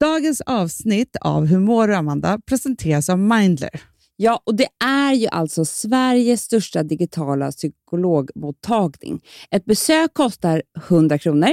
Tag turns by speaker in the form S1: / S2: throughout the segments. S1: Dagens avsnitt av Humor och Amanda presenteras av Mindler.
S2: Ja, och det är ju alltså Sveriges största digitala psykologmottagning. Ett besök kostar 100 kronor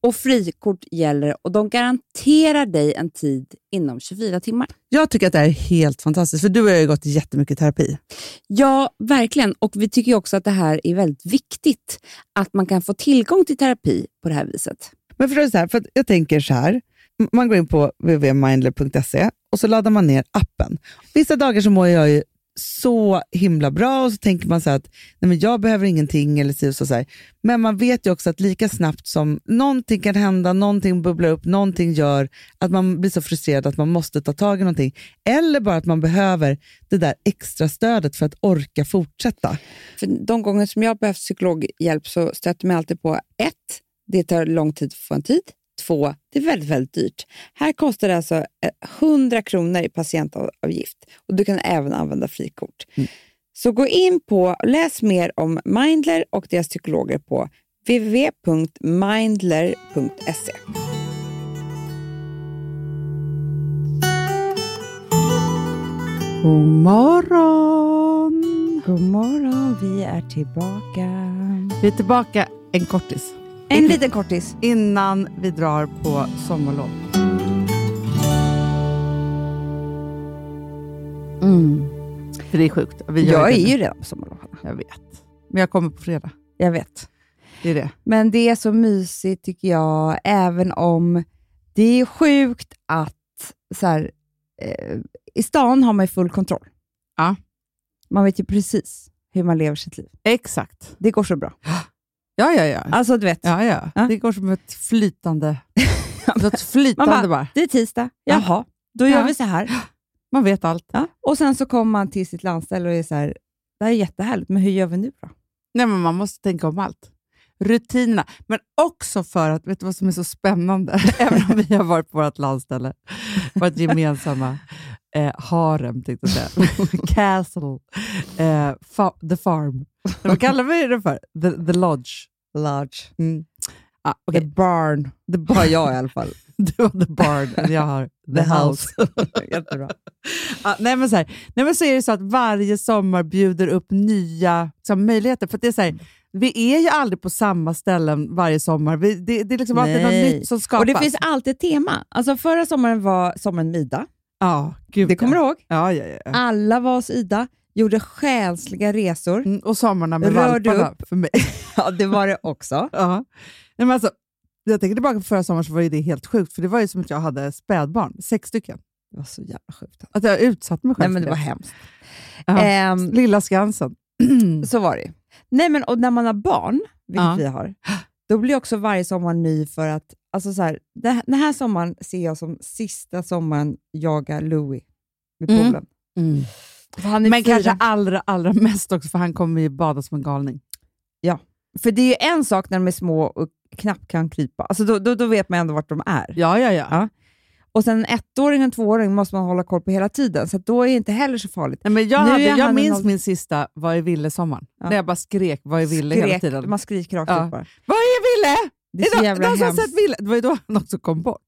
S2: och frikort gäller och de garanterar dig en tid inom 24 timmar.
S1: Jag tycker att det här är helt fantastiskt, för du och jag har ju gått jättemycket terapi.
S2: Ja, verkligen. Och vi tycker ju också att det här är väldigt viktigt, att man kan få tillgång till terapi på det här viset.
S1: Men förstår du, så här, för att jag tänker så här. M- Man går in på www.mindler.se och så laddar man ner appen. Vissa dagar så mår jag ju så himla bra och så tänker man så här att nej men jag behöver ingenting eller si och så. så här. Men man vet ju också att lika snabbt som någonting kan hända, någonting bubblar upp, någonting gör att man blir så frustrerad att man måste ta tag i någonting. Eller bara att man behöver det där extra stödet för att orka fortsätta.
S2: För de gånger som jag har behövt psykologhjälp så stöter jag mig alltid på ett, Det tar lång tid att få en tid. Två, Det är väldigt, väldigt dyrt. Här kostar det alltså eh, 100 kronor i patientavgift och du kan även använda frikort.
S1: Mm.
S2: Så gå in på läs mer om Mindler och deras psykologer på www.mindler.se.
S1: God morgon!
S2: God morgon, vi är tillbaka.
S1: Vi är tillbaka en kortis
S2: En liten kortis.
S1: innan vi drar på sommarlov.
S2: Mm.
S1: För det är sjukt. Vi gör
S2: Jag är
S1: det nu.
S2: ju redan på sommarlov. Hanna.
S1: Jag vet. Men jag kommer på fredag.
S2: Jag vet.
S1: Det är det.
S2: Men det är så mysigt tycker jag, även om det är sjukt att så här, eh, i stan har man ju full kontroll.
S1: Ja.
S2: Man vet ju precis hur man lever sitt liv.
S1: Exakt.
S2: Det går så bra.
S1: Ja, ja, ja.
S2: Alltså du vet,
S1: ja, ja.
S2: Ja.
S1: Det går som ett flytande... Något flytande
S2: Man bara-
S1: bara,
S2: det är tisdag, jaha, då
S1: Ja.
S2: gör vi så här.
S1: Man vet allt.
S2: Ja. Och sen så kommer man till sitt landställe och är så här, det här är jättehärligt, men hur gör vi nu då?
S1: Nej, men man måste tänka om allt. Rutinerna. Men också för att, vet du vad som är så spännande? Även om vi har varit på vårt landställe, vårt gemensamma eh, harem, tänkte jag säga. Castle. Eh, fa- the farm. Nej, Vad kallar vi det för? The, the lodge.
S2: Large.
S1: Mm. Ah,
S2: The
S1: okay.
S2: barn. Det har jag i alla fall.
S1: Du har the barn, jag har the, house.
S2: Jättebra.
S1: Ja, nej, men så här, nej, men så är det så att varje sommar bjuder upp nya så här, möjligheter. För att det är så här, vi är ju aldrig på samma ställen varje sommar. Vi, det, det är liksom alltid
S2: Nej.
S1: något nytt som skapas.
S2: Och det finns alltid ett tema. Alltså förra sommaren var sommaren med Ida.
S1: ja, gud,
S2: Det kommer
S1: ja.
S2: du ihåg?
S1: Ja, ja, ja.
S2: Alla var hos Ida, gjorde själsliga resor.
S1: Mm, och sommarna med
S2: Rör du
S1: valparna för mig.
S2: Ja, det var det också.
S1: Ja. Nej, men alltså, jag tänker tillbaka på förra sommaren så var ju det helt sjukt. För det var ju som att jag hade spädbarn, sex stycken.
S2: Det var så jävla sjukt.
S1: Att jag utsatte mig
S2: Nej,
S1: själv
S2: men det
S1: för
S2: var hemskt.
S1: Ja.
S2: Ehm,
S1: Lilla Skansen.
S2: så var det ju. Nej, men och när man har barn, vilket
S1: Ja.
S2: vi har, då blir också varje sommar ny för att, alltså så här, det, här- den här sommaren ser jag som sista sommaren jaga Louis vid
S1: Mm.
S2: poolen. För han är
S1: Men
S2: fyra.
S1: kanske allra, allra mest också, för han kommer ju bada som en galning.
S2: För det är ju en sak när de är små och knappt kan krypa. Alltså då, då, då vet man ändå vart de är.
S1: Ja, ja, ja.
S2: Och sen en ettåring och en tvååring måste man hålla koll på hela tiden, så att då är det inte heller så farligt.
S1: Nej, men jag
S2: Nu
S1: hade,
S2: är han
S1: jag
S2: en
S1: minns
S2: noll-
S1: min sista Vad är Ville-sommaren.
S2: Ja.
S1: När jag bara skrek Vad är Ville hela
S2: Skrek-
S1: tiden.
S2: Man skriker rakt
S1: Ja.
S2: ut bara.
S1: Vad är Ville?
S2: Det är så
S1: någon-
S2: jävla
S1: någon som har
S2: hemskt.
S1: sett Ville? Det var ju då han också kom bort.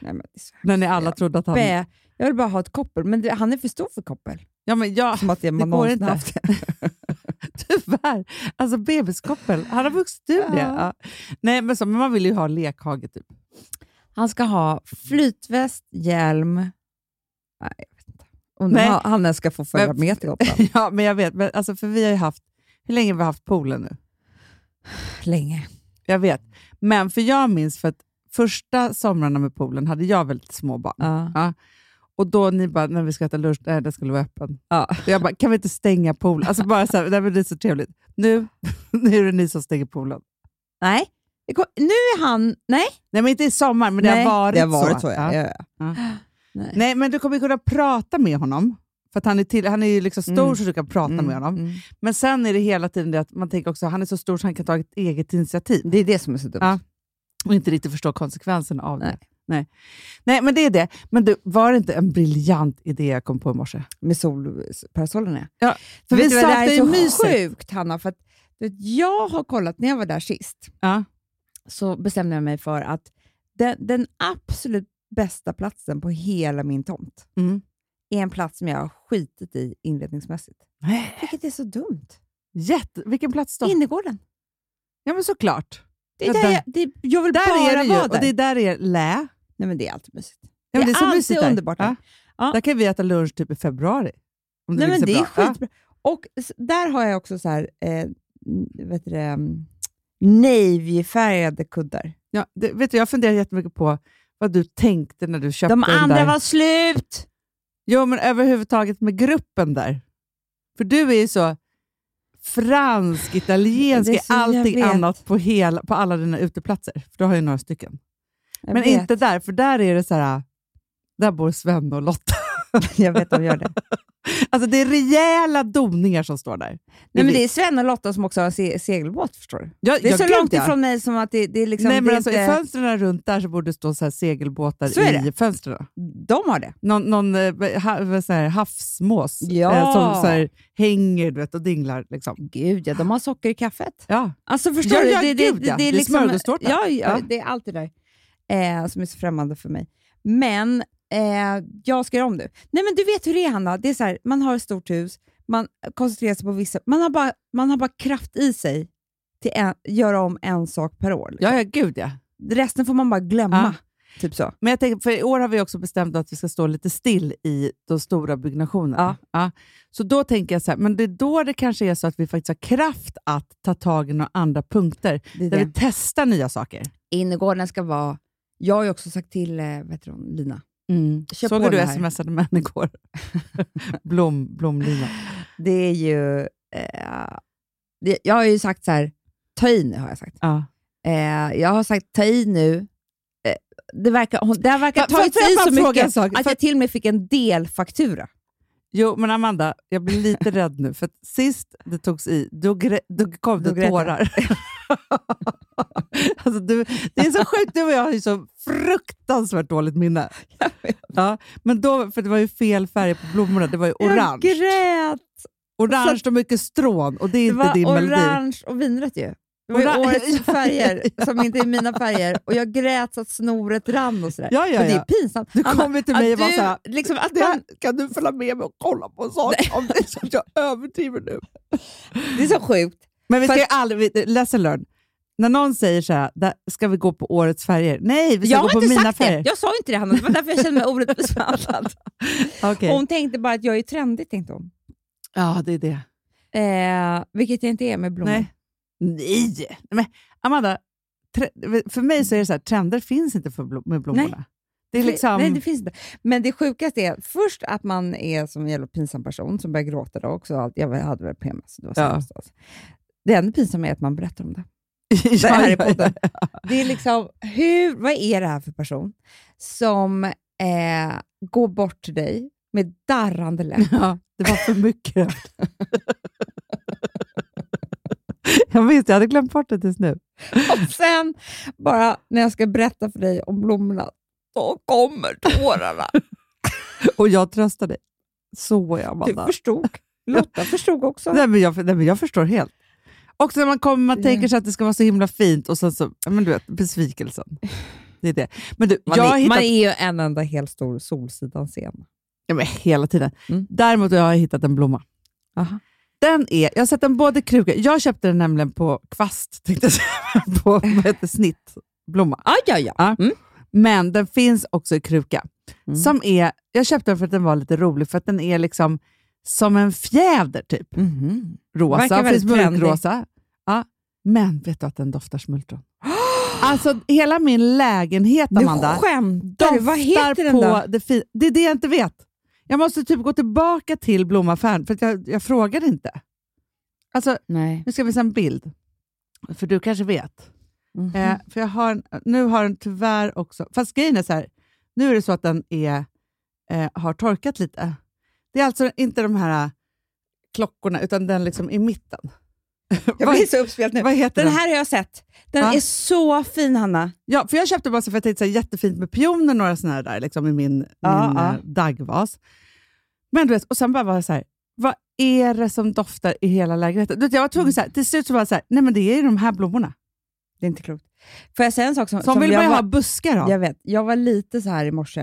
S2: Nej, men det är så
S1: När ni alla
S2: Ja.
S1: trodde att han...
S2: Bä. Jag vill bara ha ett koppel, men det, han är för stor för koppel.
S1: Ja, men jag...
S2: Som att det, man
S1: går
S2: någonsin
S1: inte.
S2: har haft.
S1: Tyvärr. Alltså bebiskoppel. Han har vuxit ur det.
S2: Ja.
S1: Ja. Nej, men, så, men man vill ju ha lekhage typ.
S2: Han ska ha flytväst, hjälm... Nej, jag vet inte. Undrar
S1: Nej.
S2: om han- han ska få följa
S1: Men-
S2: med till Gotland.
S1: ja, men jag vet. Men, alltså, för vi har ju haft... Hur länge har vi haft poolen nu?
S2: Länge.
S1: Jag vet. Men för jag minns för att första somrarna med poolen hade jag väldigt små barn.
S2: Ja.
S1: Och då ni bara, när vi ska äta lunch, nej den skulle vara öppen.
S2: Ja.
S1: Och jag bara, kan vi inte stänga poolen? Alltså bara så här, nej, men det är så trevligt. Nu, nu är det ni som stänger poolen.
S2: Nej, det kom- nu är han... Nej,
S1: Nej men inte i sommar, men det
S2: nej.
S1: har varit,
S2: det har varit så. ja.
S1: Ja.
S2: Ja. ja.
S1: Nej men du kommer ju kunna prata med honom. För att han är, till, han är ju liksom stor
S2: Mm.
S1: så du kan prata med honom.
S2: Mm.
S1: Men sen är det hela tiden det att man tänker också, han är så stor så han kan ta ett eget initiativ.
S2: Det är det som är så dumt.
S1: Ja. och inte riktigt förstår konsekvensen av
S2: Nej.
S1: det. Nej. Nej, men det är det. Men du, var det inte en briljant idé jag kom på i morse?
S2: med solparasollerna.
S1: Ja, för
S2: för vet
S1: vi
S2: du vad, det här
S1: satt
S2: är
S1: i
S2: så
S1: myset.
S2: sjukt, Hanna. För att, du vet, jag har kollat, när jag var där sist,
S1: Ja.
S2: så bestämde jag mig för att den, den absolut bästa platsen på hela min tomt
S1: Mm.
S2: är en plats som jag har skitit i inredningsmässigt.
S1: Nej.
S2: Vilket är så dumt.
S1: Jätte, vilken plats då?
S2: Innergården.
S1: Ja, men såklart.
S2: Det
S1: Ja,
S2: är där
S1: där-
S2: jag, det, jag vill
S1: Där
S2: bara
S1: är det ju,
S2: vara
S1: och det är där
S2: där.
S1: är lä.
S2: Nej, men det är alltid mysigt.
S1: Ja, men
S2: Det
S1: det
S2: är
S1: är så
S2: alltid
S1: mysigt där.
S2: underbart där.
S1: Ja.
S2: Ja.
S1: Där kan vi äta lunch typ i februari. Om
S2: Nej,
S1: vill
S2: men det liksom
S1: se
S2: är
S1: bra. Ja.
S2: skitbra. Och s- där har jag också så här, eh, vet du, det, um, navyfärgade kuddar.
S1: Ja, det, vet du, jag funderar jättemycket på vad du tänkte när du köpte
S2: De
S1: den där.
S2: andra var slut!
S1: Jo, men överhuvudtaget med gruppen där. För du är ju så fransk, italiensk
S2: Det
S1: i
S2: är så- jag
S1: allting
S2: vet.
S1: annat på, hela, på alla dina uteplatser. För du har ju några stycken.
S2: Jag
S1: men
S2: vet,
S1: inte där, för där är det så här, där bor Sven och Lotta.
S2: Jag vet de gör det.
S1: Alltså det är rejäla doningar som står där.
S2: Nej, men det är Sven och Lotta som också har se segelbåt, förstår du.
S1: jag,
S2: Det är
S1: jag
S2: så
S1: gud,
S2: långt
S1: ja.
S2: ifrån mig som att det, det är liksom...
S1: Nej,
S2: det
S1: men
S2: är
S1: alltså, I
S2: inte,
S1: fönstren runt där så borde det stå så här segelbåtar
S2: Så är
S1: i fönstren.
S2: de har det.
S1: Någon, någon eh, ha, vad så här, havsmås
S2: Ja.
S1: eh, som så här, hänger du vet, och dinglar. Liksom.
S2: Gud ja, de har socker i kaffet.
S1: Ja.
S2: Alltså förstår
S1: Ja,
S2: du?
S1: ja, gud, ja. Det är smörgåstårta.
S2: liksom- Ja, ja,
S1: Ja.
S2: det är allt det där eh, som är så främmande för mig. Men eh, jag ska göra om nu. Nej men du vet hur det är Hanna, det är så här, man har ett stort hus, man koncentrerar sig på vissa, man har bara, man har bara kraft i sig till en, göra om en sak per år.
S1: Ja, ja, gud ja.
S2: Resten får man bara glömma. Typ så.
S1: Men jag tänker, för i år har vi också bestämt att vi ska stå lite still i de stora byggnationerna. Ja. Så då tänker jag så här, men det är då det kanske är så att vi faktiskt har kraft att ta tag i några andra punkter,
S2: Det är
S1: där
S2: det.
S1: vi testar nya saker.
S2: Innergården ska vara, jag har ju också sagt till eh, vet du, hon, Lina, Mm. Kör
S1: Såg
S2: på
S1: du
S2: det här.
S1: smsade med henne igår? Blom, blomlina.
S2: det är ju, eh, det, jag har ju sagt så här, ta i nu har jag sagt.
S1: Ja.
S2: Eh, jag har sagt ta i nu. Eh, det verkar, hon, det här verkar ha
S1: Får- får
S2: tagits
S1: jag
S2: i
S1: bara
S2: så
S1: fråga en
S2: mycket
S1: sak?
S2: att
S1: Får-
S2: jag till och med fick en delfaktura.
S1: Jo, men Amanda, jag blir lite rädd nu, för att sist det togs i, då, grä, då kom
S2: Då
S1: det
S2: grät jag.
S1: tårar. alltså, du, det är så sjukt, du och jag har ju så fruktansvärt dåligt minne. Ja, men då, för det var ju fel färg på blommorna, det var ju
S2: Jag
S1: orange.
S2: grät!
S1: Orange och mycket strån, och det är
S2: Det
S1: inte
S2: var
S1: din melodi.
S2: orange och vinrött ju. Det var ju
S1: Orange-
S2: årets
S1: Ja,
S2: färger
S1: ja, ja.
S2: som inte är mina färger och jag grät så att snoret rann och sådär.
S1: Ja, ja,
S2: Och det
S1: ja.
S2: är pinsamt.
S1: Du
S2: Anna,
S1: kom ju till mig och
S2: att
S1: var
S2: du-
S1: så här,
S2: liksom, att
S1: det här,
S2: man,
S1: kan du följa med mig och kolla på en sak om det som jag överdriver nu?
S2: det är så sjukt.
S1: Men vi
S2: För
S1: ska ju aldrig, vi- lesson learned. När någon säger så här, "Där ska vi gå på årets färger? Nej, vi ska
S2: Jag
S1: gå
S2: har
S1: på
S2: inte
S1: mina
S2: sagt
S1: färger.
S2: det. Jag sa inte det Hanna, det var därför jag kände mig orättvist behandlad.
S1: Okej.
S2: Hon tänkte bara att jag är trendig, tänkte hon.
S1: Ja, det är det.
S2: Eh, vilket jag inte är med blommor.
S1: Nej. Nej! Nej, Men Amanda, tre, för mig så är det så här, trender finns inte för blom, med blommorna. Det är
S2: Nej,
S1: liksom...
S2: Nej, det finns inte. Men det sjukaste är först att man är som en jävla pinsam person som börjar gråta då också. Allt- Jag hade väl PMS, det var så
S1: Ja.
S2: hemskt alltså. Det enda pinsamma är att man berättar om det.
S1: det
S2: Det här är podden. Det är liksom, hur, vad är det här för person som eh, går bort till dig med darrande läpp?
S1: Ja, det var för mycket. jag minns, jag hade glömt bort det tills nu.
S2: Och sen, bara när jag ska berätta för dig om blommorna, då kommer tårarna.
S1: Och jag tröstar dig. Så ja,
S2: Du
S1: Amanda.
S2: förstod. Lotta förstod också.
S1: Nej, men jag, nej, men jag förstår helt. Också när man kommer, man
S2: Ja.
S1: tänker sig att det ska vara så himla fint och sen så, ja, men du vet, besvikelsen. Det är det. Men du,
S2: Man,
S1: jag har
S2: är,
S1: hittat,
S2: man är ju en enda helt stor Solsidan-scen.
S1: ja, men hela tiden.
S2: Mm.
S1: Däremot har jag hittat en blomma.
S2: Aha.
S1: Den är, jag har sett den både i kruka, jag köpte den nämligen på kvast, tänkte jag säga, på vad heter snittblomma.
S2: Ah, ja, ja.
S1: Men den finns också i kruka.
S2: Mm.
S1: Som är, jag köpte den för att den var lite rolig, för att den är liksom som en fjäder typ. Rosa,
S2: Mhm. Verkar
S1: finns
S2: väldigt trendig.
S1: mörkrosa. Ja. Men vet du att den doftar smultron? Alltså hela min lägenhet
S2: Du
S1: Amanda
S2: skämtar
S1: doftar
S2: du? Vad heter den
S1: på
S2: då?
S1: det fi- Det är det jag inte vet. Jag måste typ gå tillbaka till blomaffären för att jag, jag frågade inte. Alltså,
S2: Nej.
S1: nu ska jag visa en bild. För du kanske vet.
S2: Mm.
S1: Eh, för jag har en, nu har den tyvärr också... Fast grejen är så här, nu är det så att den är, eh, har torkat lite. Det är alltså inte de här eh, klockorna, utan den liksom i mitten.
S2: Jag
S1: vad,
S2: blir så uppspelt nu.
S1: vad heter
S2: Den
S1: den?
S2: här har jag sett. Den
S1: Ja.
S2: är så fin, Hanna.
S1: Ja, för jag köpte bara så för jag tänkte så här, jättefint med pioner några såna här där, liksom i min,
S2: Ja,
S1: min
S2: ja.
S1: eh, daggvas. Men du vet, och sen bara var jag så här, vad är det som doftar i hela lägenheten? Du vet, jag var tvungen så här, till slut så var jag så här, nej men det är ju de här blommorna.
S2: Det är inte klokt. Får jag säga en sak som,
S1: Som vill
S2: jag
S1: börja
S2: var-
S1: ha buskar då?
S2: Jag vet. Jag var lite så här i morse.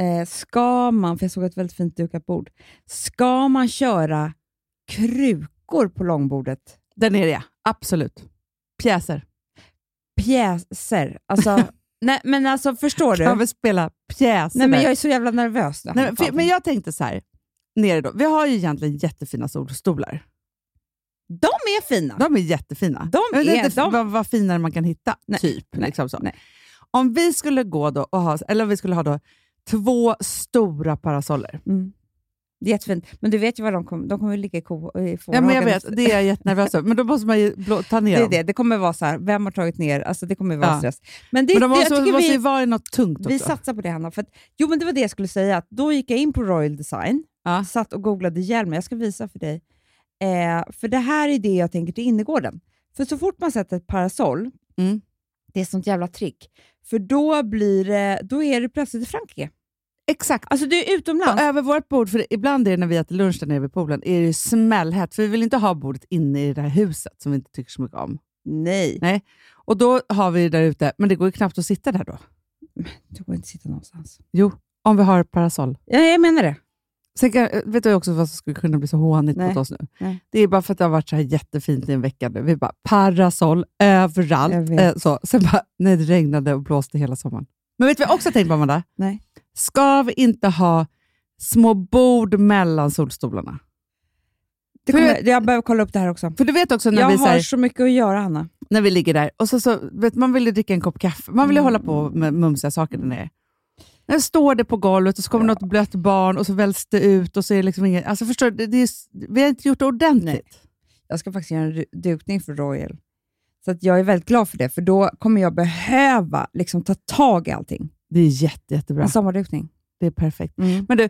S2: Eh, ska man, för jag såg ett väldigt fint dukat bord, ska man köra krukor på långbordet?
S1: Den är det, absolut. Pjäser.
S2: Pjäser? Alltså, nej, men alltså förstår du?
S1: Kan vi spela pjäser
S2: Nej, men
S1: där?
S2: jag är så jävla nervös. Nu.
S1: Nej, men, för, men jag tänkte så här, nere då. Vi har ju egentligen jättefina solstolar.
S2: De är fina!
S1: De är jättefina.
S2: De
S1: jag vet
S2: är-
S1: inte
S2: de-
S1: Vad, vad finare man kan hitta,
S2: Nej,
S1: typ. liksom så.
S2: nej.
S1: Om vi skulle gå då och ha, eller om vi skulle ha då två stora parasoller.
S2: Mm. Det är jättefint. Men du vet ju vad de kommer... De kommer ligga i, ko, i
S1: Ja, men jag
S2: fårhagen.
S1: vet, det är jag jättenervös över, men då måste man ju blå, ta ner
S2: Det är
S1: dem.
S2: det. Det kommer vara så här, vem har tagit ner? Alltså det kommer vara
S1: Ja.
S2: stress. Men det,
S1: Men de
S2: det, jag
S1: måste,
S2: tycker
S1: måste ju
S2: vi,
S1: vara i något tungt
S2: vi
S1: också.
S2: satsar på det Hanna. För att, jo men det var det jag skulle säga. Att då gick jag in på Royal Design,
S1: Ja.
S2: satt och googlade hjälmen. Jag ska visa för dig. Eh, för det här är det jag tänker till innergården. För så fort man sätter ett parasoll,
S1: Mm.
S2: det är sånt jävla trick. För då, blir, det- då är det plötsligt i Frankrike.
S1: Exakt.
S2: Alltså du är utomlands.
S1: Och över vårt bord, för ibland är det när vi äter lunch där nere vid poolen, är det ju smällhett, för vi vill inte ha bordet inne i det här huset som vi inte tycker så mycket om.
S2: Nej,
S1: Nej. Och då har vi det där ute, men det går ju knappt att sitta där då.
S2: du går inte sitta någonstans.
S1: Jo, om vi har ett parasoll.
S2: Ja, jag menar det.
S1: Sen kan, eh, vet du också vad som skulle kunna bli så hånigt
S2: Nej.
S1: mot oss nu?
S2: Nej.
S1: Det är bara för att det har varit så här jättefint i en vecka nu. Vi bara parasoll
S2: Jag
S1: överallt. Eh,
S2: vet.
S1: så. Sen bara, när det regnade och blåste hela sommaren. Men vet du vad jag också tänkt på, Amanda?
S2: Nej.
S1: Ska vi inte ha små bord mellan solstolarna?
S2: det kommer, jag behöver kolla upp det här också.
S1: För du vet också när
S2: Jag
S1: vi, så
S2: har
S1: här,
S2: så mycket att göra, Hanna.
S1: när vi ligger där, och så, så, vet, man vill ju dricka en kopp kaffe, man vill ju hålla på med mumsiga saker där nere. När står det på golvet och så kommer något blött barn och så välts det ut och så är det liksom ingen... Alltså förstår du, det, det är, s- vi har inte gjort det ordentligt.
S2: jag ska faktiskt göra en ru- dukning för Royal. Så att jag är väldigt glad för det, för då kommer jag behöva liksom ta tag i allting.
S1: Det är jätte, jättebra.
S2: En sommardukning.
S1: Alltså, det är perfekt.
S2: Mm.
S1: Men du,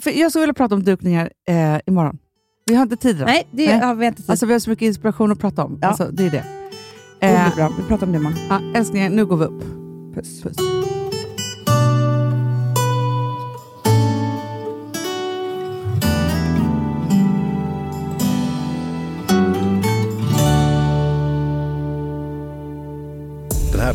S1: för jag skulle vilja prata om dukningar eh, imorgon. Vi har inte tid idag.
S2: Nej, det
S1: Nej.
S2: har vi inte tid
S1: Alltså vi har så mycket inspiration att prata om.
S2: Ja.
S1: Alltså, det är det.
S2: Det
S1: Eh,
S2: blir bra. Vi pratar om det imorgon.
S1: ja, älsklingar, nu går vi upp.
S2: Puss.
S1: Puss.
S3: Den här